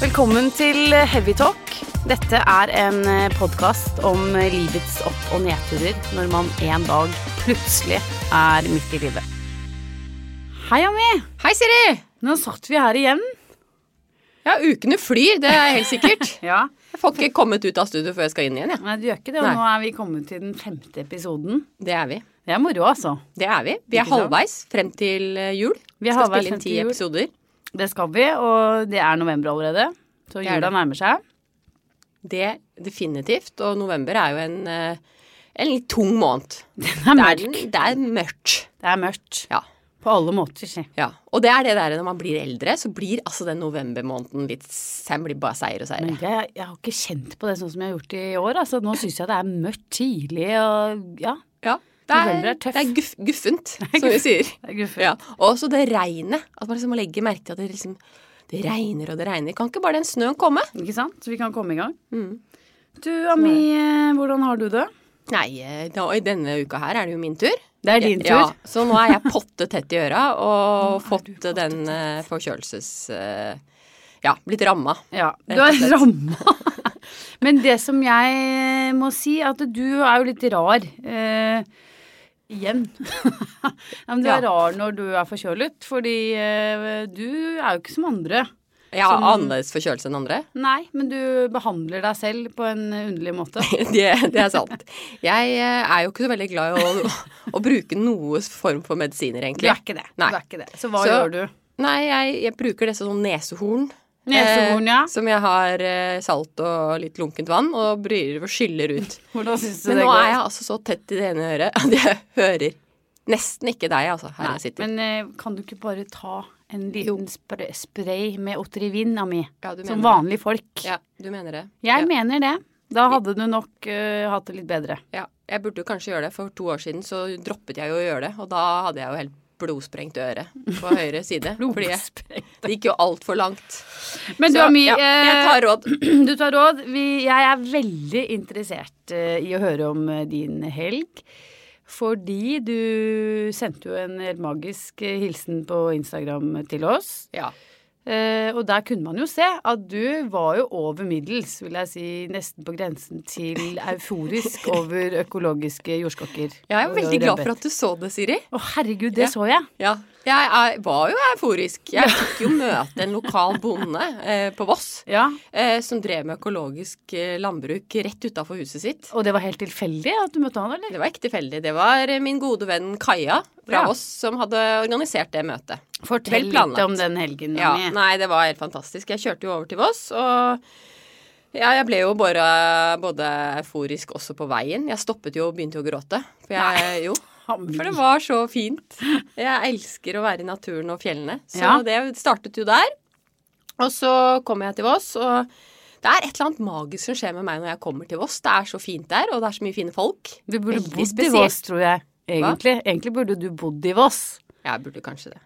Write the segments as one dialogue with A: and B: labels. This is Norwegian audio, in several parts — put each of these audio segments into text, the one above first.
A: Velkommen til Heavy Talk. Dette er en podkast om eh, livets opp- og nedturer når man en dag plutselig er midt i livet. Hei, Ami.
B: Hei, Siri!
A: Nå satt vi her igjen.
B: Ja, ukene flyr, det er helt sikkert.
A: Ja,
B: Jeg får ikke kommet ut av studio før jeg skal inn igjen, jeg.
A: Nei, du gjør ikke det. Og
B: Nei.
A: nå er vi kommet til den femte episoden.
B: Det er vi.
A: Det er moro, altså.
B: Det er vi. Vi
A: Ikke
B: er
A: sant?
B: halvveis frem til eh, jul.
A: Vi er
B: skal
A: halvveis
B: spille
A: frem
B: inn ti
A: til jul.
B: episoder.
A: Det skal vi, og det er november allerede. Så
B: Det er
A: jula
B: det.
A: nærmer seg.
B: Det definitivt. Og november er jo en, eh, en litt tung måned.
A: Den er
B: Det er,
A: mørk.
B: den- det er mørkt.
A: Det er mørkt.
B: Ja.
A: På alle måter. si.
B: ja. Og det er det der når man blir eldre, så blir altså den novembermåneden litt Den blir bare seier og
A: Men
B: seier.
A: jeg, jeg har ikke kjent på det sånn som jeg har gjort i år. Altså, nå syns jeg det er mørkt tidlig og ja.
B: Ja. Det er,
A: November er tøff.
B: Det er guff, guffent, som vi sier.
A: det er guffent.
B: Ja. Og så det regnet. At man liksom må legge merke til at det liksom det regner og det regner. Kan ikke bare den snøen komme?
A: Ikke sant? Så vi kan komme i gang.
B: Mm.
A: Du, Ami, eh, hvordan har du det?
B: Nei, eh, da, i denne uka her er det jo min tur.
A: Det er din tur.
B: Ja, så nå er jeg potte tett i øra og fått den eh, forkjølelses... eh, Ja, blitt ramma.
A: Ja, du
B: Rett og
A: er
B: slett.
A: ramma. Men det som jeg eh, må si, at du er jo litt rar. Eh, igjen. ja, men du er
B: Ja.
A: rar når du er forkjølet, fordi eh, du er jo ikke som andre.
B: Jeg har
A: Som-
B: annerledes forkjølelse enn andre.
A: Nei, men du behandler deg selv på en underlig måte.
B: Det, det er sant. Jeg eh, er jo ikke så veldig glad i å, å bruke noe form for medisiner,
A: Du
B: egentlig.
A: er ikke det.
B: Nei.
A: Du er ikke det. Så hva
B: Så-
A: gjør du?
B: Nei, jeg, jeg bruker det som sånn nesehorn.
A: Nesehorn, ja.
B: Eh, som jeg har eh, salt og litt lunkent vann og bryr og skyller ut.
A: Hvordan syns du
B: Men
A: det
B: nå
A: går?
B: er jeg altså så tett i det ene øret at jeg hører nesten ikke deg, altså, her jeg sitter.
A: Men eh, kan du ikke bare ta en liten spray, spray med Otrivin, Ami?
B: ja, du
A: Som
B: mener det.
A: vanlige folk.
B: Ja, du mener det.
A: Jeg
B: ja,
A: mener det. Da hadde du nok eh, hatt det litt bedre.
B: ja. Jeg burde jo kanskje gjøre det. For to år siden så droppet jeg jo å gjøre det, og da hadde jeg jo helt blodsprengt øre på høyre side. fordi jeg, det gikk jo altfor langt.
A: Men du,
B: Så,
A: Ami,
B: ja, jeg
A: eh,
B: tar råd.
A: du tar råd. Vi, jeg er veldig interessert eh, i å høre om eh, din helg. Fordi du sendte jo en helt magisk eh, hilsen på Instagram til oss.
B: Ja.
A: Eh, og der kunne man jo se at du var jo over middels, vil jeg si, nesten på grensen til euforisk over økologiske jordskokker.
B: Jeg er jo veldig glad for at du så det, Siri.
A: Å, herregud, det
B: Ja.
A: så jeg!
B: Ja, jeg er, var jo euforisk. Jeg fikk jo møte en lokal bonde eh, på Voss
A: Ja,
B: eh, som drev med økologisk eh, landbruk rett utafor huset sitt.
A: Og det var helt tilfeldig at du møtte han, eller?
B: Det var ikke tilfeldig. Det var eh, min gode venn Kaja
A: Ja.
B: fra oss som hadde organisert det møtet.
A: Fortell
B: Vel planlagt.
A: litt om den helgen.
B: Ja,
A: Ami.
B: nei, det var helt fantastisk. Jeg kjørte jo over til Voss, og ja, jeg ble jo bare, både euforisk også på veien. Jeg stoppet jo og begynte jo å gråte. For, jeg, jo,
A: Ami.
B: for det var så fint. Jeg elsker å være i naturen og fjellene. Så
A: Ja.
B: det startet jo der. Og så kom jeg til Voss, og det er et eller annet magisk som skjer med meg når jeg kommer til Voss. Det er så fint der, og det er så mye fine folk.
A: Du burde
B: Veldig
A: bodd i
B: spesielt.
A: Voss, tror jeg. Egentlig. Egentlig burde du bodd i Voss.
B: Jeg burde kanskje det.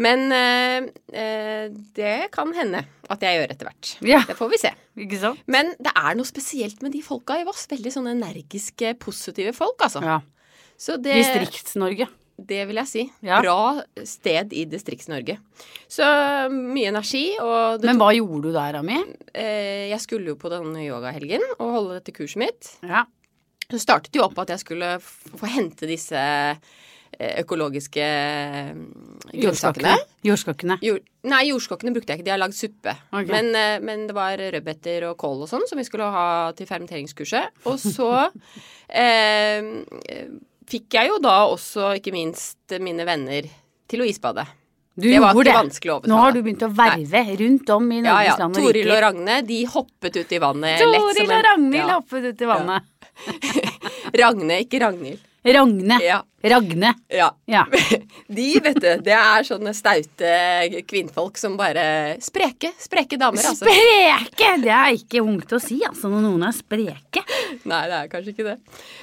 B: Men eh, eh, det kan hende at jeg gjør etter hvert.
A: Ja,
B: Det får vi se.
A: ikke sant?
B: Men det er noe spesielt med de folka i Voss. Veldig sånne energiske, positive folk, altså.
A: Ja.
B: Så det,
A: Distrikts-Norge.
B: det vil jeg si.
A: Ja.
B: Bra sted i Distrikts-Norge. Så mye energi, og det,
A: Men hva gjorde du der, Ami?
B: eh, jeg skulle jo på denne yogahelgen og holde dette kurset mitt.
A: Ja.
B: Så startet jo opp at jeg skulle f- få hente disse eh, økologiske eh, grønnsakene.
A: Jordskokkene. Jordskokkene.
B: Jord, nei, jordskokkene brukte jeg ikke. De har lagd suppe.
A: Ok.
B: Men, eh, men det var rødbeter og kål og sånn som vi skulle ha til fermenteringskurset. Og så eh, eh, fikk jeg jo da også ikke minst mine venner til å isbade.
A: Du
B: det var
A: gjorde
B: ikke
A: det.
B: vanskelig å
A: Nå
B: overtale.
A: har du begynt å verve rundt om i
B: Ja,
A: Norges
B: ja.
A: land og
B: Toril og
A: riker.
B: Ragne, de hoppet ut i vannet lett som
A: Toril og
B: en-
A: Ragnhild
B: Ja.
A: hoppet ut i vannet.
B: Ragne, ikke Ragnhild.
A: Ragne.
B: Ja.
A: Ragne.
B: ja.
A: Ja.
B: De, vet du, det er sånne staute kvinnfolk som bare Spreke. Spreke damer, altså.
A: Spreke! Det er ikke ungt å si, altså, når noen er spreke.
B: Nei, det er kanskje ikke det.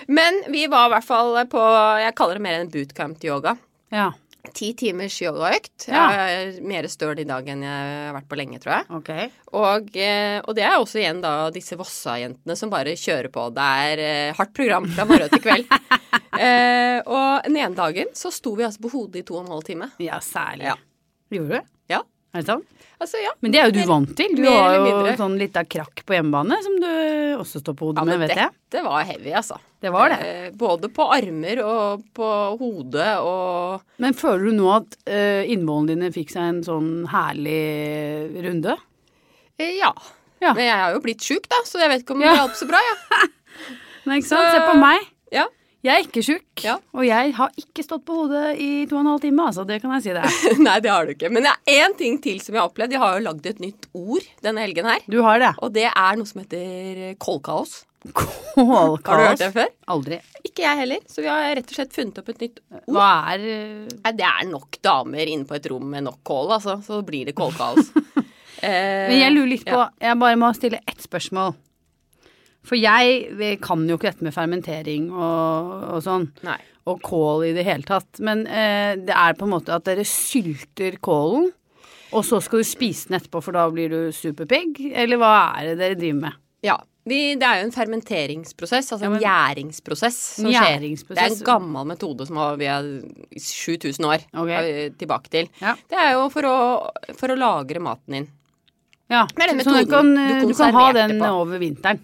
B: Men vi var i hvert fall på Jeg kaller det mer en bootcamp-yoga.
A: Ja,
B: Ti timers yogaøkt.
A: Ja.
B: Jeg er mer støl i dag enn jeg har vært på lenge, tror jeg.
A: ok.
B: Og, eh, og det er også igjen da disse Vossa-jentene som bare kjører på. Det er eh, hardt program fra morgen til kveld. eh, og den ene dagen så sto vi altså på hodet i to og en halv time.
A: Ja, særlig.
B: Ja.
A: Gjorde du?
B: Ja.
A: Er det sant?
B: Altså, ja.
A: Men det er jo du vant til. Du
B: Mer
A: har
B: eller
A: jo
B: mindre.
A: sånn lita krakk på hjemmebane som du også står på hodet
B: ja
A: med,
B: men
A: vet jeg.
B: dette var heavy, altså.
A: Det var det.
B: Eh, Både på armer og på hodet og
A: Men føler du nå at eh, innvollene dine fikk seg en sånn herlig runde?
B: eh, ja.
A: Ja.
B: Men jeg har jo blitt sjuk, da, så jeg vet ikke om
A: Ja.
B: det hjalp så bra, jeg.
A: Nei, ikke sant?
B: Øh,
A: Se på meg.
B: Ja.
A: Jeg er ikke sjuk,
B: Ja.
A: og jeg har ikke stått på hodet i to og en halv time, altså. Det kan jeg si det er.
B: Nei, det har du ikke. Men det er én ting til som jeg har opplevd. Jeg har jo lagd et nytt ord denne helgen her.
A: Du har det.
B: Og det er noe som heter kålkaos.
A: Kålkaos.
B: Har du hørt det før?
A: Aldri.
B: Ikke jeg heller. Så vi har rett og slett funnet opp et nytt ord.
A: Hva er eh,
B: Nei, det er nok damer inne på et rom med nok kål, altså. Så blir det kålkaos. Eh,
A: Men jeg lurer litt på
B: ja.
A: Jeg bare må stille ett spørsmål. For jeg vi kan jo ikke dette med fermentering og, og sånn.
B: Nei.
A: Og kål i det hele tatt. Men eh, det er på en måte at dere sylter kålen, og så skal du spise den etterpå, for da blir du superpigg? Eller hva er det dere driver med?
B: Ja. Vi, det er jo en fermenteringsprosess, altså
A: Ja, men-
B: en gjæringsprosess som
A: En
B: skjer.
A: gjæringsprosess.
B: Det er en gammel metode som har- vi har 7000 år
A: Ok.
B: er vi tilbake til.
A: Ja.
B: Det er jo for å, for å lagre maten din.
A: Ja,
B: Det er den
A: så du
B: metoden
A: kan, eh,
B: du
A: du kan ha
B: konserverte
A: den
B: på.
A: over vinteren.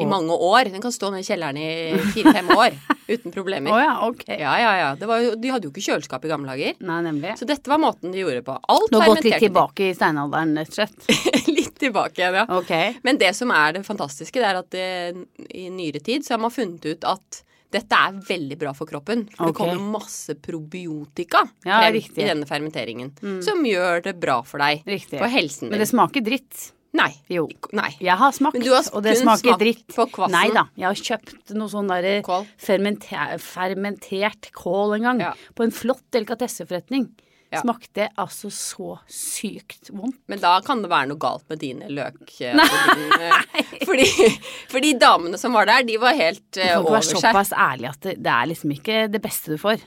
B: I mange år. Den kan stå nede i kjelleren i fire-fem år uten problemer.
A: Å ja, ok.
B: Ja, ja, ja. Det var jo, de hadde jo ikke kjøleskap i gamle dager.
A: Nei, nemlig.
B: Så dette var måten de gjorde på. Alt
A: Du har gått litt
B: fermenterte de.
A: tilbake i steinalderen, rett og slett.
B: litt tilbake igjen, ja.
A: Ok.
B: Men det som er det fantastiske, det er at det, i nyere tid så har man funnet ut at dette er veldig bra for kroppen. For
A: Ok.
B: det kommer masse probiotika
A: Ja,
B: frem
A: riktig. Mm.
B: i denne fermenteringen. Som gjør det bra for deg.
A: Riktig.
B: For helsen
A: Men
B: din.
A: det smaker dritt.
B: Nei.
A: Jo.
B: Nei.
A: Jeg har smakt,
B: Men du har
A: og det
B: kun
A: smaker
B: smakt
A: dritt.
B: på kvassen.
A: Nei da, jeg har kjøpt noe sånn derre
B: Kål.
A: fermenter, fermentert kål en gang.
B: Ja.
A: På en flott delikatesseforretning.
B: Ja.
A: Smakte altså så sykt vondt.
B: Men da kan det være noe galt med dine løk. eh, og din, eh, Fordi, fordi damene som var der, de var helt
A: Du
B: eh,
A: kan ikke
B: over
A: være
B: seg.
A: såpass ærlig at det, det er liksom ikke det beste du får.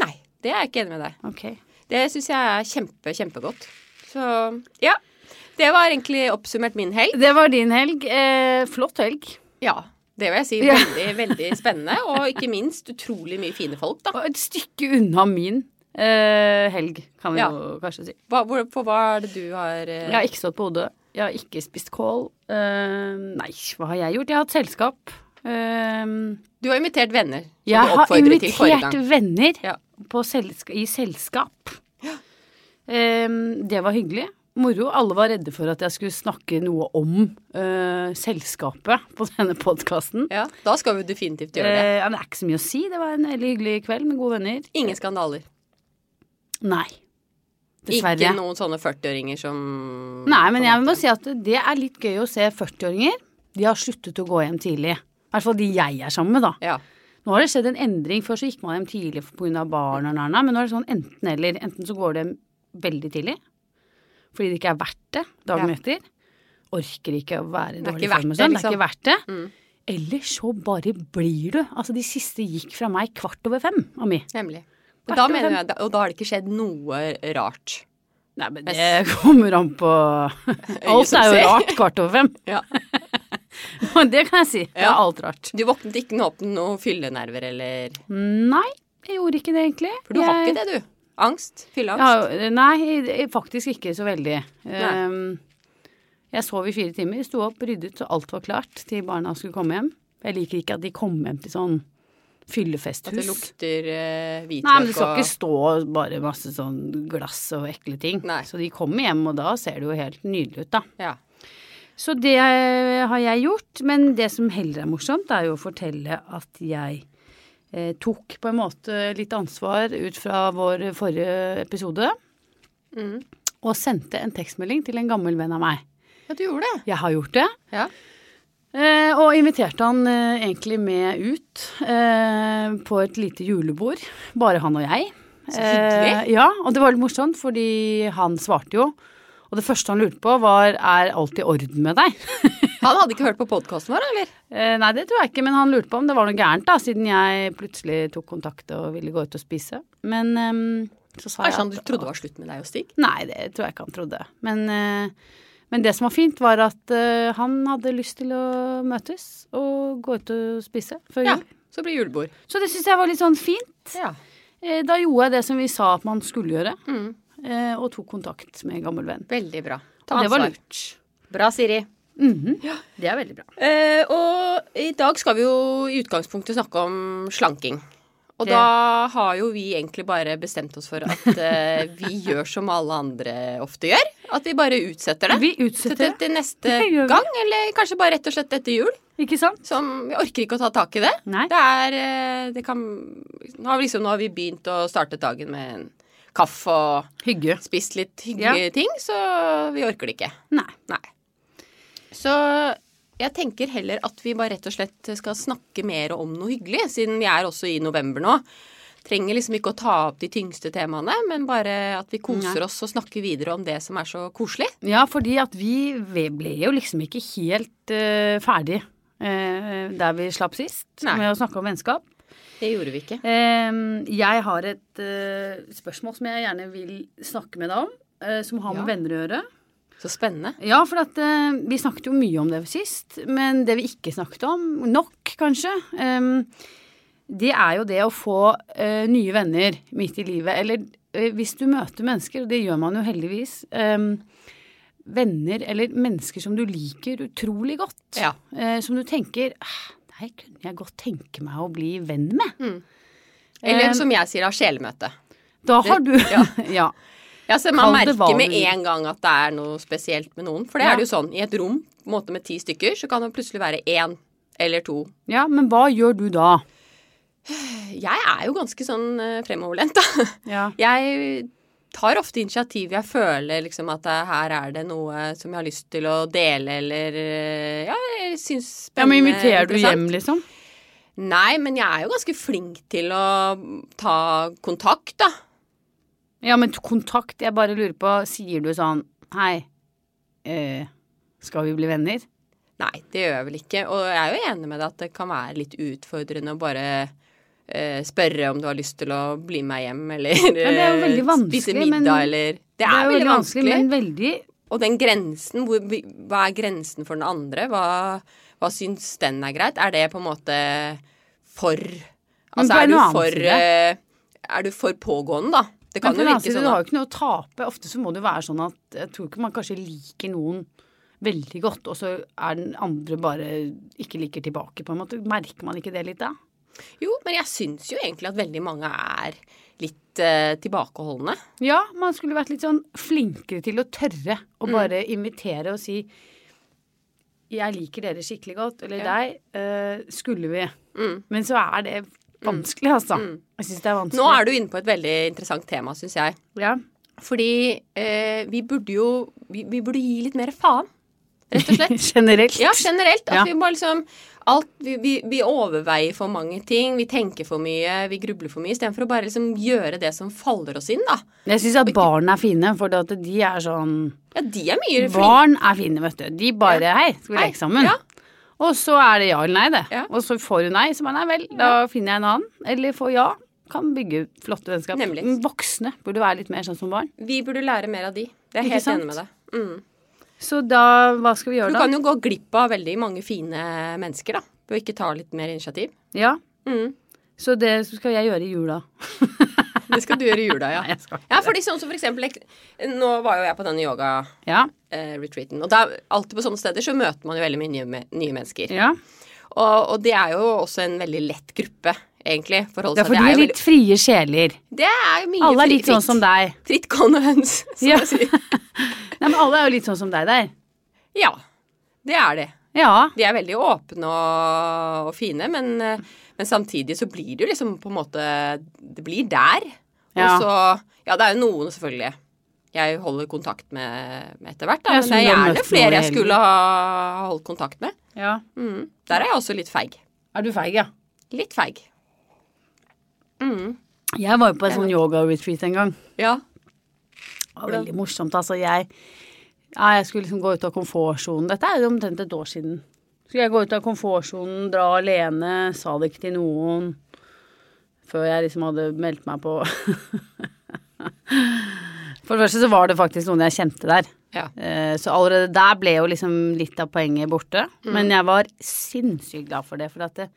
B: Nei, det er jeg ikke enig med deg.
A: Ok.
B: Det syns jeg er kjempe, kjempegodt. Så ja. Det var egentlig oppsummert min helg.
A: Det var din helg. Eh, flott helg.
B: Ja. Det vil jeg si.
A: Ja.
B: Veldig, veldig spennende. Og ikke minst utrolig mye fine folk, da.
A: Og et stykke unna min eh, helg, kan vi
B: Ja.
A: jo kanskje si.
B: Hva, hvor, på hva er det du har eh,
A: Jeg har ikke stått på hodet. Jeg har ikke spist kål. Eh, nei, hva har jeg gjort? Jeg har hatt selskap. Eh,
B: Du har invitert venner. som du
A: jeg har
B: oppfordret til forrige
A: invitert
B: gang.
A: venner
B: Ja.
A: på selska i selskap. Eh, det var hyggelig. Moro. Alle var redde for at jeg skulle snakke noe om eh, selskapet på denne podkasten.
B: Ja, da skal vi definitivt gjøre det.
A: Eh, ja, men det er ikke så mye å si. Det var en veldig hyggelig kveld med gode venner.
B: Ingen skandaler.
A: Nei. Dessverre.
B: Ikke noen sånne 40-åringer som
A: Nei, men jeg må si at det er litt gøy å se 40-åringer. De har sluttet å gå hjem tidlig. I hvert fall de jeg er sammen med, da.
B: Ja.
A: Nå har det skjedd en endring. Før så gikk man hjem tidlig pga. barn og nærna, men nå er det sånn enten-eller. Enten så går det hjem veldig tidlig fordi det ikke er verdt det dagen
B: Ja.
A: etter. Orker ikke å være i
B: Det er
A: dårlig
B: ikke
A: form og
B: verdt det,
A: sånn. Det er
B: liksom.
A: ikke verdt det. Eller så bare blir du. Altså, de siste gikk fra meg kvart over fem av mi.
B: Nemlig.
A: Hvert
B: Men da
A: år
B: mener
A: fem.
B: jeg, og da har det ikke skjedd noe rart.
A: Nei, men det kommer an på Alt
B: som
A: er jo
B: ser.
A: rart kvart over fem.
B: Ja.
A: Og det kan jeg si. Det er
B: Ja.
A: alt rart.
B: Du våknet ikke nå opp med noen fyllenerver eller
A: Nei, jeg gjorde ikke det egentlig.
B: For du har
A: Jeg-
B: ikke det, du. Angst? Fylleangst?
A: Ja, nei, jeg- faktisk ikke så veldig.
B: Nei.
A: Ehm, jeg sov i fire timer, sto opp, ryddet så alt var klart til barna skulle komme hjem. Jeg liker ikke at de kom hjem til sånn fyllefesthus.
B: At det lukter eh, hvitløk
A: Nei, men det skal
B: og
A: ikke stå bare masse sånn glass og ekle ting.
B: Nei.
A: Så de kommer hjem, og da ser det jo helt nydelig ut, da.
B: ja.
A: Så det har jeg gjort. Men det som heller er morsomt, er jo å fortelle at jeg eh, tok på en måte litt ansvar ut fra vår forrige episode.
B: Mm.
A: Og sendte en tekstmelding til en gammel venn av meg.
B: ja, du gjorde det.
A: Jeg har gjort det.
B: Ja.
A: Eh, og inviterte han eh, egentlig med ut eh, på et lite julebord. Bare han og jeg.
B: Så hyggelig.
A: Eh, ja, og det var litt morsomt, fordi han svarte jo. Og det første han lurte på, var er alt i orden med deg?
B: Han hadde ikke hørt på podkasten vår, eller?
A: Eh, Nei, det tror jeg ikke, men han lurte på om det var noe gærent, da, siden jeg plutselig tok kontakt og ville gå ut og spise. Men ehm, så sa jeg
B: Kanskje han
A: at-
B: trodde det var slutt med deg og Stig?
A: Nei, det tror jeg ikke han trodde. Men, eh, men det som var fint, var at eh, han hadde lyst til å møtes og gå ut og spise før
B: Ja.
A: jul.
B: Så blir det julebord.
A: Så det syns jeg var litt sånn fint.
B: Ja.
A: Eh, Da gjorde jeg det som vi sa at man skulle gjøre.
B: Mm.
A: eh, og tok kontakt med gammel venn.
B: Veldig bra.
A: Og
B: Ta
A: det var
B: ansvar.
A: lurt.
B: Bra, Siri.
A: Mhm. Det er veldig bra.
B: Eh, og i dag skal vi jo i utgangspunktet snakke om slanking. Og
A: Det-
B: da har jo vi egentlig bare bestemt oss for at eh, vi gjør som alle andre ofte gjør. At vi bare utsetter det.
A: Vi utsetter
B: Til,
A: det,
B: til neste
A: Det gjør vi.
B: gang, eller kanskje bare rett og slett etter jul.
A: ikke sant?
B: Som Vi orker ikke å ta tak i det.
A: Nei.
B: Det er eh, Det kan Nå har vi liksom Nå har vi begynt å starte dagen med en kaffe og
A: Hygge.
B: spist litt hyggelige ting, så vi orker det ikke.
A: Nei.
B: Nei. Så jeg tenker heller at vi bare rett og slett skal snakke mer om noe hyggelig, siden vi er også i november nå. Trenger liksom ikke å ta opp de tyngste temaene, men bare at vi koser
A: Nei.
B: oss og snakker videre om det som er så koselig.
A: Ja, fordi at vi vi ble jo liksom ikke helt eh, ferdig eh, der vi slapp sist
B: Nei.
A: med å snakke om vennskap.
B: Det gjorde vi ikke.
A: Eh, jeg har et eh, spørsmål som jeg gjerne vil snakke med deg om, eh, som har med
B: Ja.
A: venner å gjøre.
B: Så spennende.
A: Ja, for at eh, vi snakket jo mye om det sist, men det vi ikke snakket om, nok kanskje, eh, det er jo det å få eh, nye venner midt i livet. Eller eh, hvis du møter mennesker, og det gjør man jo heldigvis, eh, venner eller mennesker som du liker utrolig godt,
B: Ja.
A: eh, som du tenker «Ah, Nei, kunne jeg godt tenke meg å bli venn med.
B: Eller
A: Eh,
B: som jeg sier, av sjelemøte.
A: Da har du
B: ja.
A: ja.
B: Ja, så Man
A: Kall det hva
B: merker med
A: du vil.
B: en gang at det er noe spesielt med noen. For det
A: Ja.
B: er det jo sånn, i et rom på en måte med ti stykker, så kan det plutselig være én eller to.
A: ja, men hva gjør du da?
B: Jeg er jo ganske sånn eh, fremoverlent, da.
A: Ja.
B: Jeg tar ofte initiativ. Jeg føler liksom at det, her er det noe som jeg har lyst til å dele, eller eh, Ja, jeg syns
A: ja,
B: spennende
A: men inviterer du
B: Eh, interessant.
A: hjem, liksom?
B: Nei, men jeg er jo ganske flink til å ta kontakt, da.
A: Ja, men kontakt, jeg bare lurer på, sier du sånn Hei, eh, skal vi bli venner?
B: Nei, det gjør jeg vel ikke. Og jeg er jo enig med deg at det kan være litt utfordrende å bare eh, spørre om du har lyst til å bli med hjem, eller
A: det er jo veldig
B: eh, spise
A: vanskelig,
B: middag,
A: men-
B: eller Det er,
A: jo
B: veldig vanskelig.
A: men veldig
B: Og den grensen, hvor, hva er grensen for den andre? Hva, hva syns den er greit? Er det på en måte for Altså,
A: på en
B: er du
A: annen
B: for,
A: side-
B: eh, er du for pågående, da? Det
A: Men
B: kan
A: på
B: jo
A: den annen
B: virke
A: side,
B: sånn.
A: du
B: da.
A: har jo ikke noe å tape. Ofte så må det jo være sånn at jeg tror ikke man kanskje liker noen veldig godt, og så er den andre bare ikke liker tilbake, på en måte. Merker man ikke det litt da?
B: Jo, men jeg syns jo egentlig at veldig mange er litt eh, tilbakeholdne.
A: Ja, man skulle vært litt sånn flinkere til å tørre å
B: Mm.
A: bare invitere og si Jeg liker dere skikkelig godt, eller
B: Ja.
A: deg. eh, skulle vi?
B: Mm.
A: Men så er det vanskelig, altså. Jeg syns det er vanskelig.
B: Nå er du inne på et veldig interessant tema, syns jeg.
A: ja.
B: Fordi eh, vi burde jo vi, vi burde gi litt mer faen, rett og slett.
A: Generelt.
B: Ja, generelt. At
A: Ja.
B: vi bare liksom alt, vi, vi, vi overveier for mange ting, vi tenker for mye, vi grubler for mye, istedenfor å bare liksom gjøre det som faller oss inn, da.
A: Jeg syns at barn er fine, for at de er sånn
B: Ja, de er mye flinkere.
A: Barn er fine, vet du. De bare Hei, skal vi
B: Hei,
A: leke sammen?
B: ja.
A: Og så er det ja eller nei, det.
B: Ja.
A: Og så får hun nei, så bare nei vel, da finner jeg en annen. Eller får ja. Kan bygge flotte vennskap.
B: Nemlig.
A: Men Voksne burde være litt mer sånn som barn.
B: Vi burde lære mer av de. Det er
A: Ikke
B: jeg helt
A: sant?
B: enig med deg. Mm.
A: Så da, hva skal vi
B: Du
A: gjøre da?
B: kan jo gå glipp av veldig mange fine mennesker, da. Ved å ikke ta litt mer initiativ.
A: Ja,
B: Mm.
A: Så det skal jeg gjøre i jula.
B: Det skal du gjøre i jula, ja.
A: Nei, jeg skal ikke
B: Ja, fordi sånn som for eksempel ek- Nå var jo jeg på denne yoga-retreaten,
A: Ja.
B: og da, alltid på sånne steder så møter man jo veldig mye nye, me- nye mennesker.
A: ja.
B: Og, og det er jo også en veldig lett gruppe, egentlig. Forholde
A: Det er
B: seg
A: fordi
B: til.
A: vi er
B: jo
A: litt frie sjeler.
B: veldig- det er jo mye
A: Alle er
B: fri-
A: litt sånn
B: fritt-
A: som deg.
B: Fritt gående høns, som
A: Ja.
B: jeg sier.
A: Nei, men alle er jo litt sånn som deg der.
B: Ja. Det er det.
A: Ja.
B: De er veldig åpne og, og fine, men, eh, men samtidig så blir det jo liksom på en måte Det blir der.
A: Ja.
B: Og så Ja, det er jo noen, selvfølgelig. Jeg holder kontakt med, med etter hvert, da.
A: Ja,
B: Men
A: som
B: det
A: du
B: er
A: har
B: gjerne
A: møtt nå i
B: flere jeg
A: helgen.
B: skulle ha holdt kontakt med.
A: ja.
B: Mm. Der er jeg også litt feig.
A: Er du feig, ja?
B: Litt feig. Mm.
A: Jeg var jo på en sånn yoga-retreat en gang.
B: Ja.
A: Det var veldig morsomt, altså. Jeg, ja, jeg skulle liksom gå ut av komfortsonen. Dette er jo omtrent et år siden. Skulle jeg gå ut av komfortsonen, dra alene, sa det ikke til noen. Før jeg liksom hadde meldt meg på. For det første så var det faktisk noen jeg kjente der.
B: ja.
A: Eh, Så allerede der ble jo liksom litt av poenget borte.
B: Mm.
A: Men jeg var sinnssykt glad for det. For at det,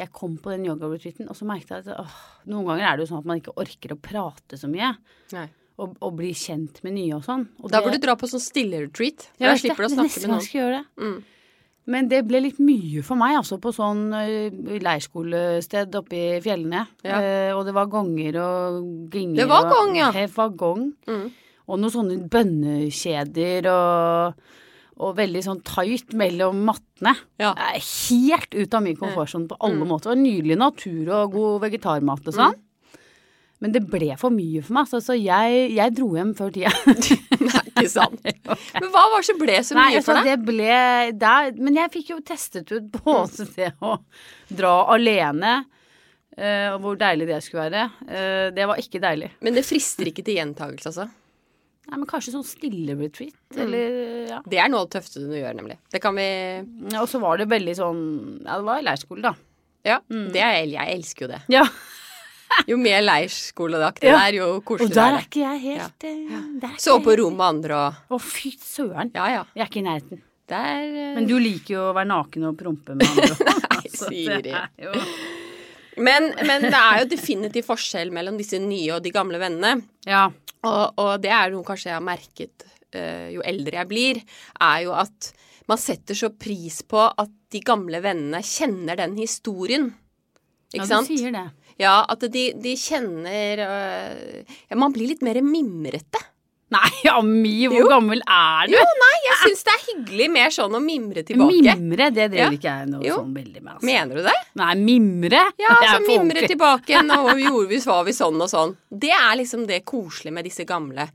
A: jeg kom på den yoga-retreaten, og så merket jeg at åh, noen ganger er det jo sånn at man ikke orker å prate så mye.
B: Nei.
A: og, og bli kjent med nye og sånn. Og
B: Da
A: det-
B: burde du dra på sånn stille-retreat.
A: Jeg
B: Da
A: vet
B: slipper du å
A: det,
B: snakke
A: neste
B: med
A: gang
B: noen.
A: skal jeg gjøre det.
B: Mm.
A: Men det ble litt mye for meg, altså, på sånn ø, leirskolested oppe i fjellene.
B: Ja.
A: Eh, og det var gonger og ginger.
B: Det var
A: og-
B: gong, ja.
A: Det var gong.
B: Mm.
A: Og noen sånne bønnekjeder og, og veldig sånn tight mellom mattene.
B: Ja. Mm.
A: Det er helt ut av min komfortsone på alle måter. Det var Nydelig natur og god vegetarmat og sånn. Men det ble for mye for meg, så, så jeg, jeg dro hjem før tida.
B: Nei, ikke sant. Men hva var det som ble så
A: Nei,
B: mye
A: altså,
B: for deg?
A: det ble der, Men jeg fikk jo testet ut både det å dra alene, eh, og hvor deilig det skulle være. Eh, det var ikke deilig.
B: Men det frister ikke til gjentagelse, altså.
A: Nei, men kanskje sånn stille retreat, eller ja.
B: Det er noe av det tøffeste du gjør, nemlig. Det kan vi
A: Og så var det veldig sånn Ja, det var leirskole, da.
B: Ja,
A: Mm.
B: det er, jeg elsker jo det.
A: Ja.
B: Jo mer leirskoledag det
A: Ja.
B: er, jo
A: Og
B: koseligere
A: der
B: er
A: er ikke jeg helt eh,
B: det. Sove på rom med andre
A: Å,
B: og
A: fy søren.
B: Ja, ja.
A: Jeg er ikke i nærheten.
B: Det er eh,
A: Men du liker jo å være naken og prompe med andre.
B: Nei,
A: Så
B: Siri.
A: det er jo
B: Men, men det er jo definitiv forskjell mellom disse nye og de gamle vennene.
A: Ja.
B: Og, og det er noe kanskje jeg har merket eh, jo eldre jeg blir, er jo at man setter så pris på at de gamle vennene kjenner den historien. Ikke
A: ja, du
B: sant?
A: sier det.
B: Ja, at de, de kjenner eh, ja, Man blir litt mer mimrete.
A: Nei, Ami, hvor gammel er du?
B: Jeg syns det er hyggelig mer sånn å mimre tilbake.
A: Mimre, det driver
B: Ja.
A: ikke jeg noe
B: Jo.
A: sånn veldig med. Altså.
B: Mener du det?
A: Nei, mimre? Det
B: Ja,
A: er
B: så
A: for
B: mimrer
A: ordentlig.
B: tilbake. Nå gjorde vi, var vi sånn og sånn. Det er liksom det koselige med disse gamle.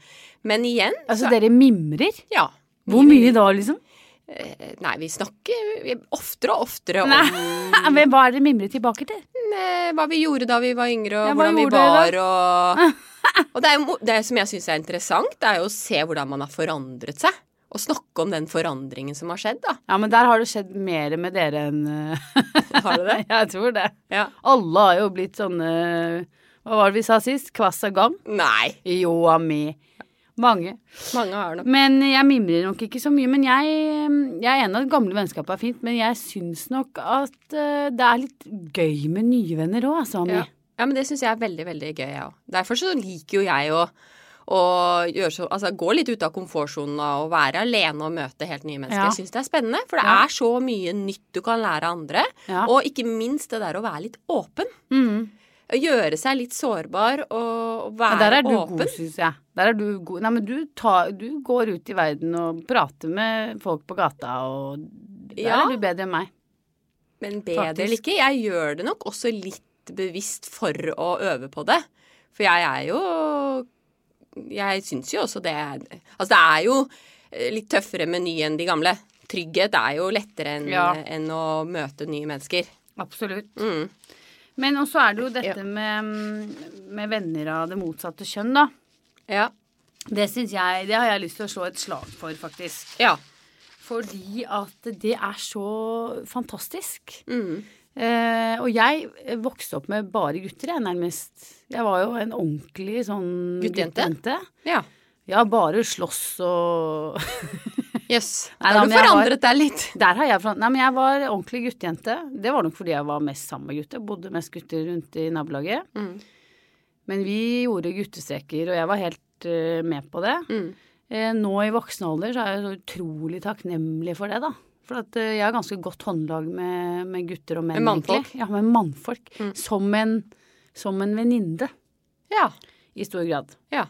B: Men igjen,
A: Altså, dere mimrer?
B: ja.
A: Hvor mye da, liksom?
B: Eh, Nei, vi snakker oftere og oftere om mm.
A: Nei, men Hva er det mimret tilbake til?
B: eh, hva vi gjorde da vi var yngre, og
A: Ja, hva
B: hvordan vi
A: gjorde
B: var,
A: dere
B: og Og det, er, jo mo- det som jeg syns er interessant, det er jo å se hvordan man har forandret seg. Og snakke om den forandringen som har skjedd, da.
A: Ja, men der har det skjedd mer med dere enn Har det det? Jeg tror det.
B: Ja.
A: Alle har jo blitt sånne Hva var det vi sa sist? Kvass og gam?
B: Nei.
A: Jo, ami. Mange.
B: Mange har nok
A: Men jeg mimrer nok ikke så mye. Men jeg, eh, jeg er enig i at gamle vennskap er fint, men jeg syns nok at eh, det er litt gøy med nye venner òg, altså, Ami.
B: Ja. ja, men det syns jeg er veldig, veldig gøy, jeg òg. Derfor så liker jo jeg å, å gjøre så, altså, gå litt ut av komfortsonen og være alene og møte helt nye mennesker.
A: Ja.
B: Jeg syns det er spennende, for det
A: Ja.
B: er så mye nytt du kan lære av andre.
A: Ja.
B: Og ikke minst det der å være litt åpen.
A: Mhm.
B: Å Gjøre seg litt sårbar og og
A: Ja,
B: være
A: der er du
B: åpen.
A: god, syns jeg. Der er du god. Nei, men du, tar, du går ut i verden og prater med folk på gata, og der
B: Ja.
A: er du bedre enn meg.
B: Men bedre
A: Faktisk.
B: eller ikke, jeg gjør det nok også litt bevisst for å øve på det. For jeg er jo Jeg syns jo også det er Altså, det er jo eh, litt tøffere med ny enn de gamle. Trygghet er jo lettere enn
A: Ja.
B: enn å møte nye mennesker.
A: Absolutt.
B: Mm.
A: Men også er det jo dette
B: Ja.
A: med, med venner av det motsatte kjønn, da.
B: Ja.
A: Det syns jeg Det har jeg lyst til å slå et slag for, faktisk.
B: Ja.
A: Fordi at det er så fantastisk.
B: Mm.
A: Eh, og jeg vokste opp med bare gutter, jeg, nærmest. Jeg var jo en ordentlig sånn
B: Guttejente?
A: guttejente.
B: Ja.
A: Ja, bare slåss og
B: Jøss.
A: Nei, da,
B: Da har du
A: men jeg var-
B: forandret deg litt.
A: Der har jeg fra... Nei, men jeg var ordentlig guttejente. Det var nok fordi jeg var mest sammen med gutter. Bodde mest gutter rundt i nabolaget.
B: Mm.
A: Men vi gjorde guttestreker, og jeg var helt eh, med på det.
B: Mm.
A: Eh, nå i voksen alder så er jeg så utrolig takknemlig for det, da. For at eh, jeg har ganske godt håndlag med, med gutter og menn,
B: Med mannfolk? Mm.
A: egentlig. Ja, med mannfolk. Som en, som en venninne,
B: Ja.
A: i stor grad.
B: Ja.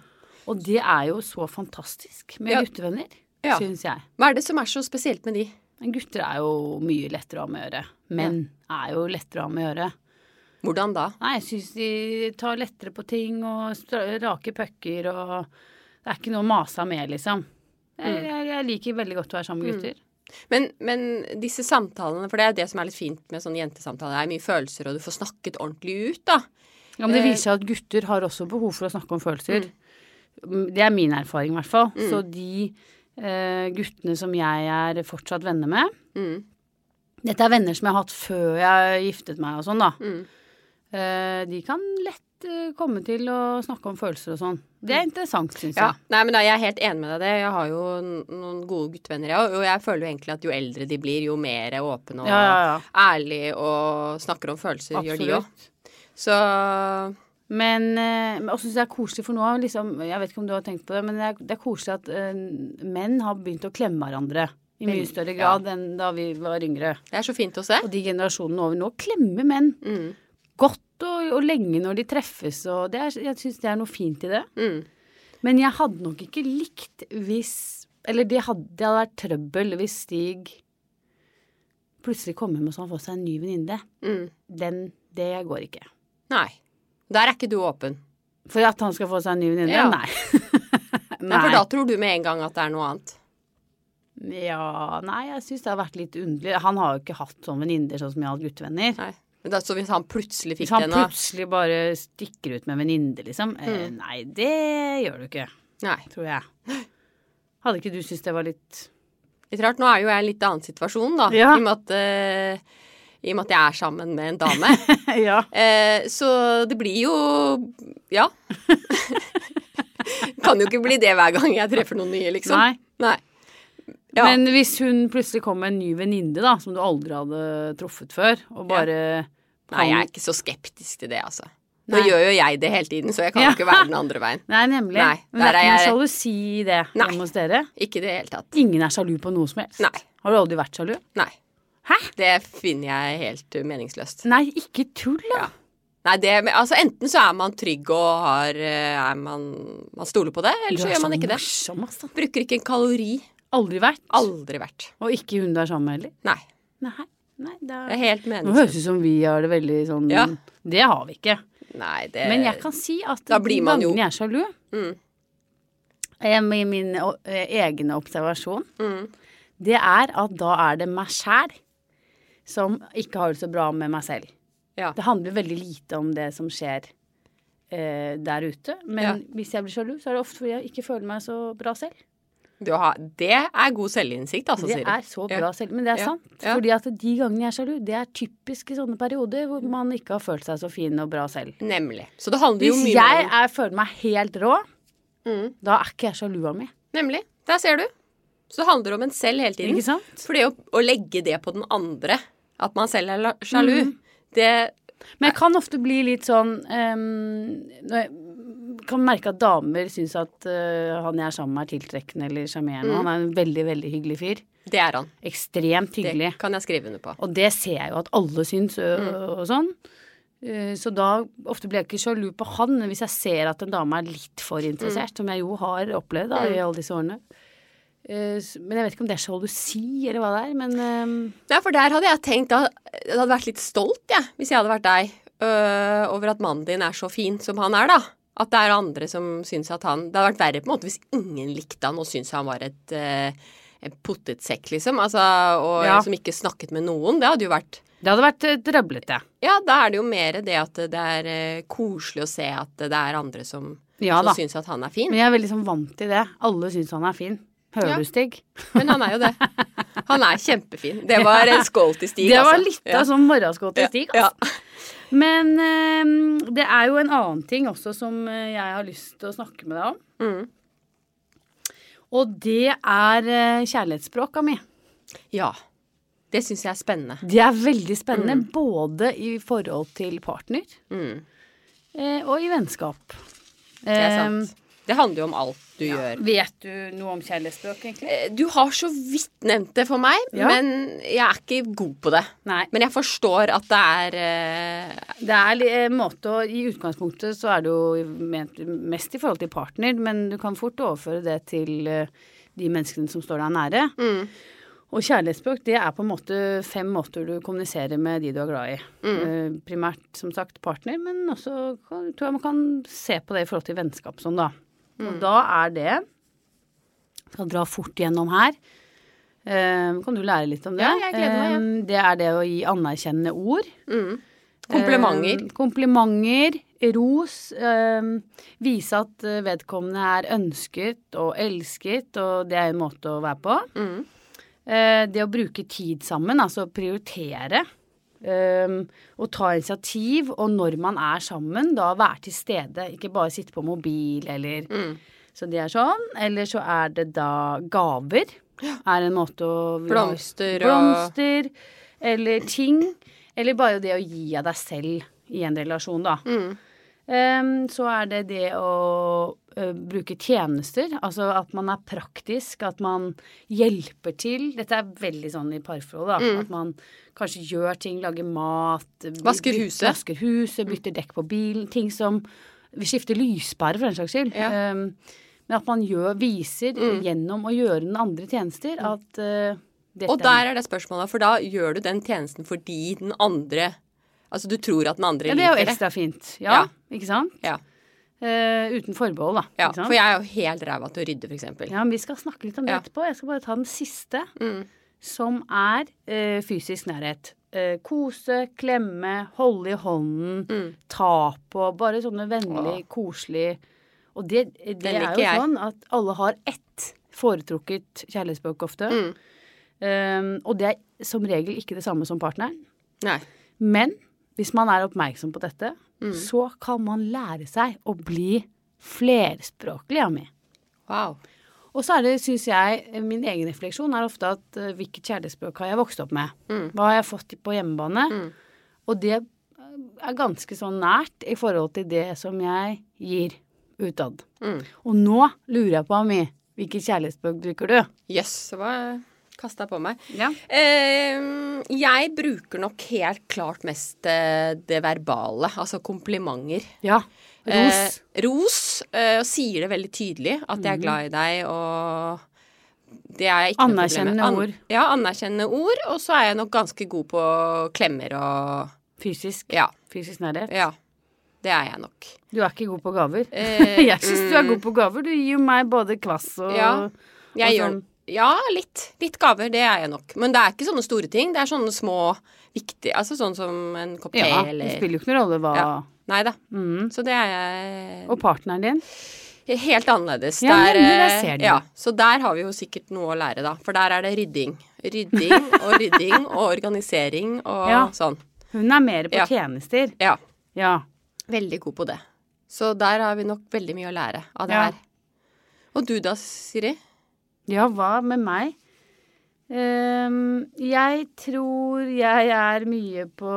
A: Og det er jo så fantastisk med
B: Ja.
A: guttevenner,
B: Ja.
A: syns jeg.
B: Hva er det som er så spesielt med de?
A: Men gutter er jo mye lettere å ha med å gjøre. Menn er jo lettere å ha med å gjøre.
B: Hvordan da?
A: Nei, jeg syns de tar lettere på ting og stra- rake pucker og Det er ikke noe å mase med, liksom. Jeg, jeg, jeg liker veldig godt å være sammen med gutter.
B: Men, men disse samtalene, for det er det som er litt fint med sånne jentesamtaler, det er mye følelser, og du får snakket ordentlig ut, da.
A: Ja, men det viser seg at gutter har også behov for å snakke om følelser. Det er min erfaring, i hvert fall. Så de eh, guttene som jeg er fortsatt venner med
B: Mm.
A: Dette er venner som jeg har hatt før jeg giftet meg og sånn, da.
B: Mm.
A: Eh, de kan lett eh, komme til å snakke om følelser og sånn. Det er interessant, syns
B: Mm. Ja.
A: jeg.
B: Nei, men da, jeg er helt enig med deg i det. Jeg har jo n- noen gode guttevenner, jeg òg. Og jeg føler jo egentlig at jo eldre de blir, jo mer åpne og
A: Ja, ja, ja.
B: ærlige og snakker om følelser, gjør de òg.
A: Absolutt.
B: Så
A: Men eh, men også syns jeg det er koselig, for nå har liksom Jeg vet ikke om du har tenkt på det, men det er, det er koselig at eh, menn har begynt å klemme hverandre i mye
B: Veldig,
A: større
B: ja.
A: grad enn da vi var yngre.
B: Det er så fint å se.
A: Og de generasjonene over nå klemmer menn
B: Mm.
A: godt og, og lenge når de treffes, og det er, jeg syns det er noe fint i det.
B: Mm.
A: Men jeg hadde nok ikke likt hvis Eller det hadde, det hadde vært trøbbel hvis Stig plutselig kom hjem og så han får seg en ny venninne.
B: Mm.
A: Den, det går ikke.
B: Nei. Der er ikke du åpen.
A: For at han skal få seg en ny venninne?
B: Ja.
A: Nei.
B: Nei. For da tror du med en gang at det er noe annet.
A: Ja, nei, jeg syns det har vært litt underlig. Han har jo ikke hatt sånne venninner sånn som jeg har hatt guttevenner.
B: Nei. Men da, så hvis han plutselig fikk
A: Hvis han
B: det nå
A: plutselig bare stikker ut med en venninne, liksom. Eh, nei, det gjør du ikke,
B: Mm. Nei.
A: tror jeg. Hadde ikke du syntes det var litt
B: Litt rart. Nå er jo jeg i en litt annen situasjon, da.
A: Ja.
B: I, og med at, eh, I og med at jeg er sammen med en dame.
A: Ja.
B: Eh, så det blir jo Ja. kan jo ikke bli det hver gang jeg treffer noen nye, liksom.
A: Nei.
B: Nei. Ja.
A: Men hvis hun plutselig kom med en ny venninne, da, som du aldri hadde truffet før, og bare
B: Nei, jeg er ikke så skeptisk til det, altså. Nå
A: Nei.
B: gjør jo jeg det hele tiden, så jeg kan jo
A: Ja.
B: ikke være den andre veien.
A: Nei, nemlig.
B: Nei,
A: Men det
B: der
A: er ikke
B: er
A: noe
B: jeg-
A: sjalusi i det
B: Nei.
A: hjemme hos dere?
B: Ikke i det hele tatt.
A: Ingen er sjalu på noe som helst?
B: Nei.
A: Har du aldri vært sjalu?
B: Nei.
A: Hæ?
B: Det finner jeg helt uh, meningsløst.
A: Nei, ikke tull, da!
B: Ja. Nei, det, men, altså Enten så er man trygg og har eh, er man, man stoler på det, eller så gjør man ikke det.
A: morsom, altså.
B: Bruker ikke en kalori.
A: Aldri vært.
B: Aldri vært.
A: Og ikke hun du er sammen med heller.
B: Nei.
A: Nei. Nei, det
B: Det
A: er...
B: er helt
A: Nå høres
B: meningsløst.
A: det ut som vi har det veldig sånn
B: Ja.
A: Det har vi ikke.
B: Nei, det
A: Men jeg kan si at
B: da blir man
A: de
B: jo-
A: gangene jeg er sjalu
B: Mm.
A: eh, Med min o- eh, egne observasjon
B: Mm.
A: det er at da er det meg sjæl som ikke har det så bra med meg selv.
B: Ja.
A: Det handler veldig lite om det som skjer eh, der ute. Men
B: Ja.
A: hvis jeg blir sjalu, så er det ofte fordi jeg ikke føler meg så bra selv.
B: Du har, det er god selvinnsikt, altså,
A: Det
B: Siri.
A: er så bra
B: Ja.
A: selv, men det er
B: Ja.
A: sant.
B: Ja.
A: Fordi at de gangene jeg er sjalu, det er typisk i sånne perioder hvor man ikke har følt seg så fin og bra selv.
B: Nemlig. Så det handler jo
A: Hvis
B: mye
A: jeg
B: om
A: er, føler meg helt rå,
B: Mm.
A: da er ikke jeg sjalua mi.
B: Nemlig. Der ser du. Så det handler om en selv hele tiden.
A: Ikke sant?
B: For det å, å legge det på den andre, at man selv er
A: Mhm.
B: la- sjalu, det
A: Men jeg kan ofte bli litt sånn ehm, når jeg Kan merke at damer syns at eh, han jeg er sammen med, er tiltrekkende eller sjarmerende. Han er en veldig, veldig hyggelig fyr.
B: Det er han.
A: Ekstremt
B: Det
A: hyggelig.
B: kan jeg skrive under på.
A: Og det ser jeg jo at alle syns ø, og sånn. Eh, Så da ofte blir jeg ikke sjalu på han, men hvis jeg ser at en dame er litt for interessert, som jeg jo har opplevd da, i alle disse årene. Eh, s- Men jeg vet ikke om det er sjalusi eller hva det er, men ehm,
B: Nei, for der hadde jeg tenkt da, Jeg hadde vært litt stolt, jeg, hvis jeg hadde vært deg, øh, over at mannen din er så fin som han er, da. At det er andre som syns at han Det hadde vært verre på en måte hvis ingen likte han og syntes han var et øh, en potetsekk, liksom. Altså, og
A: Ja.
B: som ikke snakket med noen. Det hadde jo vært
A: det hadde vært eh, trøblete.
B: Ja, da er det jo mer det at det er eh, koselig å se at det er andre som,
A: Ja da.
B: som syns at han er fin.
A: Men jeg er veldig sånn vant til det. Alle syns han er fin. Hører
B: Ja.
A: du, Stig?
B: Men han er jo det. Han er kjempefin. Det var en skål til Stig,
A: Det var
B: altså.
A: litt av sånn morgenskål til Stig.
B: Ja.
A: Altså. Men eh, det er jo en annen ting også som eh, jeg har lyst til å snakke med deg om.
B: Ja. Mm.
A: Og det er eh, kjærlighetsspråka mi.
B: ja. Det syns jeg er spennende.
A: Det er veldig spennende, både i forhold til partner
B: Mm.
A: eh, og i vennskap. Eh,
B: Det er
A: Ehm,
B: sant. Det handler jo om alt du gjør.
A: Vet du noe om kjærlighetsspråk, egentlig?
B: Eh, Du har så vidt nevnt det for meg,
A: Ja.
B: men jeg er ikke god på det.
A: Nei.
B: Men jeg forstår at det er eh,
A: Det er li- en måte å I utgangspunktet så er det jo ment mest i forhold til partner, men du kan fort overføre det til eh, de menneskene som står deg nære.
B: Mm.
A: Og kjærlighetsspråk, det er på en måte fem måter du kommuniserer med de du er glad i.
B: Mm.
A: Eh, Primært, som sagt, partner, men også kan, tror jeg man kan se på det i forhold til vennskap sånn, da.
B: Mm.
A: Og da er det Skal dra fort gjennom her. Eh, kan du lære litt om det?
B: Ja, jeg gleder meg, ja.
A: Eh, Det er det å gi anerkjennende ord.
B: mm. Komplimenter.
A: Eh, komplimenter, ros. Eh, vise at eh, vedkommende er ønsket og elsket, og det er en måte å være på.
B: Mm.
A: Eh, det å bruke tid sammen, altså prioritere. eh, og ta initiativ, og når man er sammen, da være til stede. Ikke bare sitte på mobil eller
B: Mm.
A: Så det er sånn. Eller så er det da gaver. Er en måte å
B: Blomster og
A: blomster eller ting. Eller bare det å gi av deg selv i en relasjon, da.
B: Mm.
A: Ehm, Så er det det å eh, bruke tjenester, altså at man er praktisk, at man hjelper til. Dette er veldig sånn i parforhold, da.
B: Mm.
A: At man kanskje gjør ting, lager mat.
B: Vasker
A: byt-
B: huset.
A: Vasker
B: Mm.
A: huset, bytter dekk på bilen. Ting som Vi skifter lyspære, for den saks skyld.
B: Ja. Mm.
A: Ehm, men at man gjør, viser gjennom å gjøre den andre tjenester at eh, dette
B: Og der er det spørsmålet, for da gjør du den tjenesten fordi den andre Altså du tror at den andre
A: ja, Det er jo
B: liker det.
A: ekstra fint. Ja,
B: Ja.
A: ikke sant?
B: Ja.
A: Eh, uten forbehold, da.
B: Ja,
A: ikke sant?
B: for jeg er jo helt ræva til å rydde, for eksempel.
A: Ja, men vi skal snakke litt om det
B: Ja.
A: etterpå. Jeg skal bare ta den siste,
B: Mm.
A: som er eh, fysisk nærhet. Eh, kose, klemme, holde i hånden,
B: Mm.
A: ta på. Bare sånne vennlig, koselig Og det, det
B: Den
A: er
B: liker
A: jo
B: jeg.
A: sånn at alle har ett foretrukket kjærlighetsspråk ofte.
B: Mm.
A: Eh, og det er som regel ikke det samme som partneren.
B: Nei.
A: Men hvis man er oppmerksom på dette,
B: Mm.
A: så kan man lære seg å bli flerspråklig, Ami.
B: Wow.
A: Og så er det, syns jeg, min egen refleksjon er ofte at eh, hvilket kjærlighetsspråk har jeg vokst opp med?
B: Mm.
A: Hva har jeg fått på hjemmebane? Og det er ganske sånn nært i forhold til det som jeg gir utad.
B: Mm.
A: Og nå lurer jeg på, Ami, hvilket kjærlighetsspråk bruker du?
B: Jøss, så hva kasta jeg på meg?
A: Ja.
B: Eh, jeg bruker nok helt klart mest eh, det verbale, altså komplimenter.
A: ja. Ros.
B: Eh, ros, eh, og sier det veldig tydelig at
A: Mhm.
B: jeg er glad i deg og det er jeg ikke noe problem med.
A: Anerkjennende ord.
B: Ja, anerkjennende ord. Og så er jeg nok ganske god på klemmer og
A: Fysisk.
B: Ja.
A: Fysisk nærhet.
B: Ja. Det er jeg nok.
A: Du er ikke god på gaver.
B: Eh,
A: jeg syns du er god på gaver. Du gir jo meg både kvass og
B: Ja. Jeg
A: Og
B: gjør
A: sånn-
B: Ja, litt. Litt gaver, det er jeg nok. Men det er ikke sånne store ting. Det er sånne små, viktige Altså sånn som en kopp te
A: Ja, det
B: eller
A: spiller jo ikke noen rolle hva
B: Ja. Nei da.
A: mm.
B: Så det er jeg
A: Og partneren din?
B: helt annerledes.
A: Ja,
B: Der,
A: nemlig, der
B: eh,
A: ser du.
B: ja, så der har vi jo sikkert noe å lære, da. For der er det rydding. Rydding og rydding og organisering og
A: Ja.
B: sånn.
A: Hun er mer på
B: Ja.
A: tjenester.
B: Ja.
A: Ja.
B: Veldig god på det. Så der har vi nok veldig mye å lære av det
A: Ja.
B: her. Og du da, Siri?
A: Ja, hva med meg? Ehm, jeg tror jeg er mye på,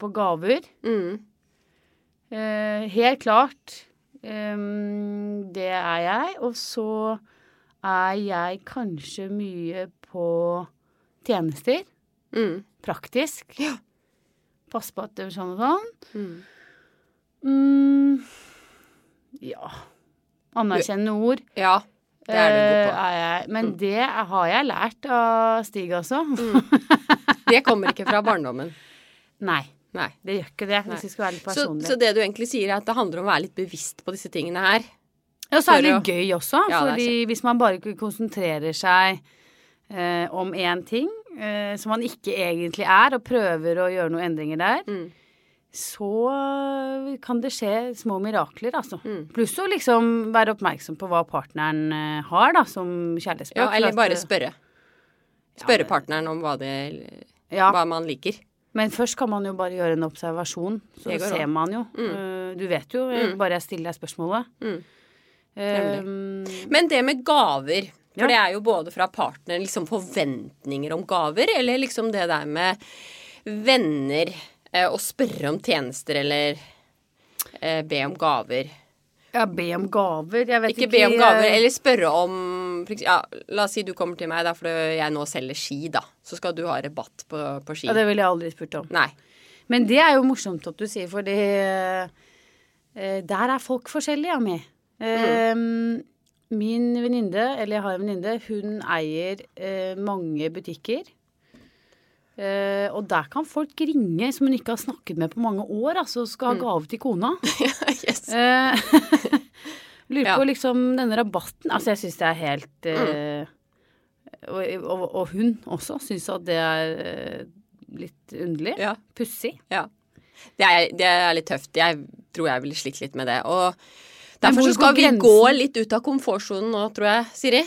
A: på gaver.
B: Mm.
A: Eh, helt klart. Ehm, det er jeg. Og så er jeg kanskje mye på tjenester.
B: Mm.
A: Praktisk.
B: Ja.
A: Passe på at det er sånn og sånn.
B: Mm.
A: Mm, ja Anerkjennende ord
B: Ja. Det er du god
A: eh,
B: på. Mm.
A: er jeg. Men det har jeg lært av Stig, altså.
B: Det kommer ikke fra barndommen.
A: Nei,
B: Nei.
A: det gjør ikke det,
B: Nei.
A: hvis vi skal være litt
B: Så,
A: personlige.
B: så det du egentlig sier, er at det handler om å være litt bevisst på disse tingene her.
A: Ja, så er det
B: for
A: litt gøy også,
B: Ja, det er
A: fordi hvis man bare ikke konsentrerer seg eh, om én ting, eh, som man ikke egentlig er, og prøver å gjøre noen endringer der,
B: Mm.
A: så eh, kan det skje små mirakler, altså.
B: Mm.
A: Pluss å liksom være oppmerksom på hva partneren eh, har, da, som kjærlighetsspråk.
B: Ja,
A: for
B: eller
A: at- eh,
B: bare spørre.
A: Ja,
B: Spørre
A: men-
B: partneren om hva, det,
A: Ja,
B: hva man liker.
A: Men først kan man jo bare gjøre en observasjon, så
B: Det går
A: ser
B: an.
A: man jo. Eh, Du vet jo, eh, bare jeg stiller deg spørsmålet.
B: Mm.
A: Eh,
B: Men det med gaver,
A: Ja.
B: for det er jo både fra partneren liksom forventninger om gaver, eller liksom det der med venner eh, å spørre om tjenester eller eh, be om gaver.
A: ja, be om gaver. Jeg vet
B: Ikke
A: ikke
B: be om
A: eh,
B: gaver, eller spørre om for eks- ja, La oss si du kommer til meg da, for jeg nå selger ski, da. Så skal du ha rabatt på, på ski.
A: Ja, det ville jeg aldri spurt om.
B: Nei.
A: Men det er jo morsomt at du sier, fordi eh, der er folk forskjellige, Ami.
B: Mm.
A: Eh, Min venninne, eller jeg har en venninne, hun eier eh, mange butikker. Eh, og der kan folk ringe som hun ikke har snakket med på mange år, altså
B: Mm.
A: skal ha gave til kona.
B: yes.
A: Eh, Lurer
B: Ja.
A: på liksom denne rabatten. Altså, jeg syns det er helt eh,
B: Mm.
A: og, og, og hun også syns at det er eh, litt underlig.
B: Ja.
A: Pussig.
B: Ja. Det er, det er litt tøft. Jeg tror jeg ville slitt litt med det. Og
A: Men hvor
B: derfor så skal
A: går
B: vi
A: grensen?
B: gå litt ut av komfortsonen nå, tror jeg, Siri.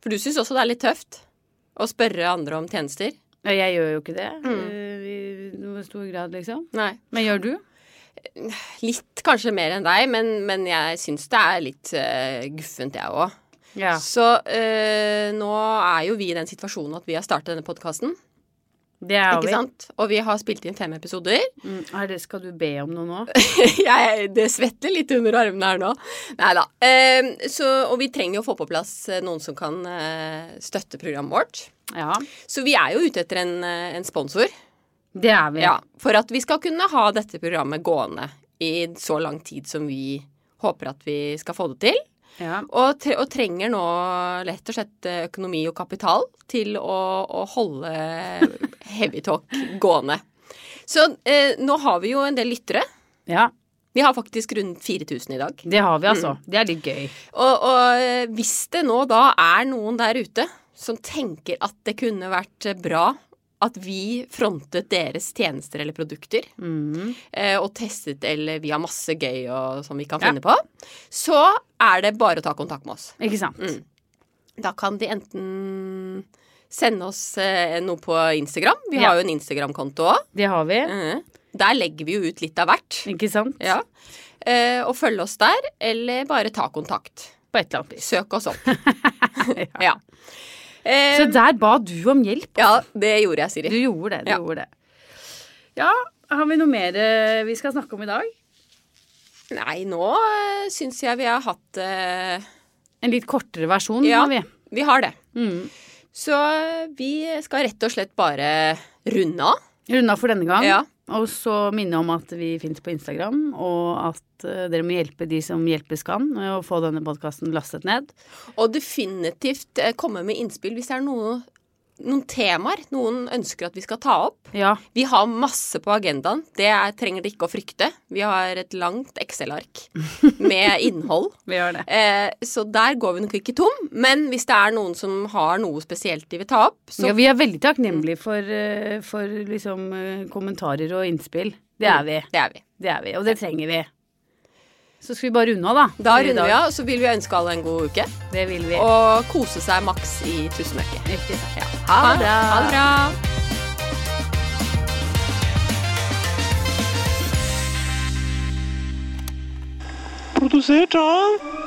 B: For du syns også det er litt tøft å spørre andre om tjenester?
A: Ja, Jeg gjør jo ikke det
B: Mm.
A: eh, i noe stor grad, liksom.
B: Nei.
A: Men gjør du?
B: Litt kanskje mer enn deg, men, men jeg syns det er litt eh, guffent, jeg òg.
A: Ja.
B: Så eh, nå er jo vi i den situasjonen at vi har startet denne podkasten.
A: Det er
B: Ikke
A: over.
B: sant? Og vi har spilt inn fem episoder.
A: Mm, er det, skal du be om noe nå?
B: jeg, det svetter litt under armene her nå. Nei da. Eh, så, og vi trenger jo å få på plass eh, noen som kan eh, støtte programmet vårt.
A: Ja,
B: Så vi er jo ute etter en, eh, en sponsor.
A: det er vi.
B: Ja, for at vi skal kunne ha dette programmet gående i så lang tid som vi håper at vi skal få det til.
A: Ja.
B: Og, tre og trenger nå rett og slett eh, økonomi og kapital til å, å holde Heavy Talk gående. Så eh, nå har vi jo en del lyttere.
A: ja,
B: Vi har faktisk rundt 4000 i dag.
A: det har vi altså. Det er litt gøy.
B: Og, og eh, hvis det nå da er noen der ute som tenker at det kunne vært eh, bra at vi frontet deres tjenester eller produkter,
A: Mm.
B: eh, og testet eller vi har masse gøy og, som vi kan
A: Ja.
B: finne på, så er det bare å ta kontakt med oss.
A: Ikke sant?
B: Mm. Da kan de enten sende oss eh, noe på Instagram. Vi
A: Ja.
B: har jo en Instagram-konto òg.
A: Det har vi.
B: Der legger vi jo ut litt av hvert.
A: Ikke sant?
B: Mm. Ja. Eh, og følge oss der, eller bare ta kontakt.
A: På et eller annet vis.
B: Søk oss opp. ja. Eh,
A: Så der ba du om hjelp.
B: ja, det gjorde jeg,
A: Du
B: Siri.
A: gjorde det. du
B: Ja.
A: gjorde det. Ja, har vi noe mer eh, vi skal snakke om i dag?
B: Nei, nå eh, syns jeg vi har hatt eh,
A: En litt kortere versjon
B: Ja,
A: har vi.
B: vi har det.
A: Mm.
B: Så eh, vi skal rett og slett bare runde av.
A: Runda for denne gang.
B: Ja.
A: Og så minne om at vi finnes på Instagram, og at eh, dere må hjelpe de som hjelpes kan med å få denne podkasten lastet ned.
B: Og definitivt eh, komme med innspill hvis det er noe, noen temaer noen ønsker at vi skal ta opp.
A: Ja,
B: Vi har masse på agendaen. Det er, trenger dere ikke å frykte. Vi har et langt Excel-ark med innhold.
A: vi gjør det.
B: Eh, så der går vi nok ikke tom. Men hvis det er noen som har noe spesielt de vil ta opp, så
A: ja, vi er veldig takknemlige for, eh, for liksom, eh, kommentarer og innspill. Det er vi.
B: Det er vi.
A: Det er vi, og det trenger vi. Så skal vi bare runde av, da.
B: Da
A: for i
B: runder
A: dag.
B: vi av, og så vil vi ønske alle en god uke.
A: Det vil vi.
B: Og kose seg maks i tusenmørket.
A: Ikke sant.
B: Ja.
A: Ha det bra.
B: Ha det bra.
C: produziert av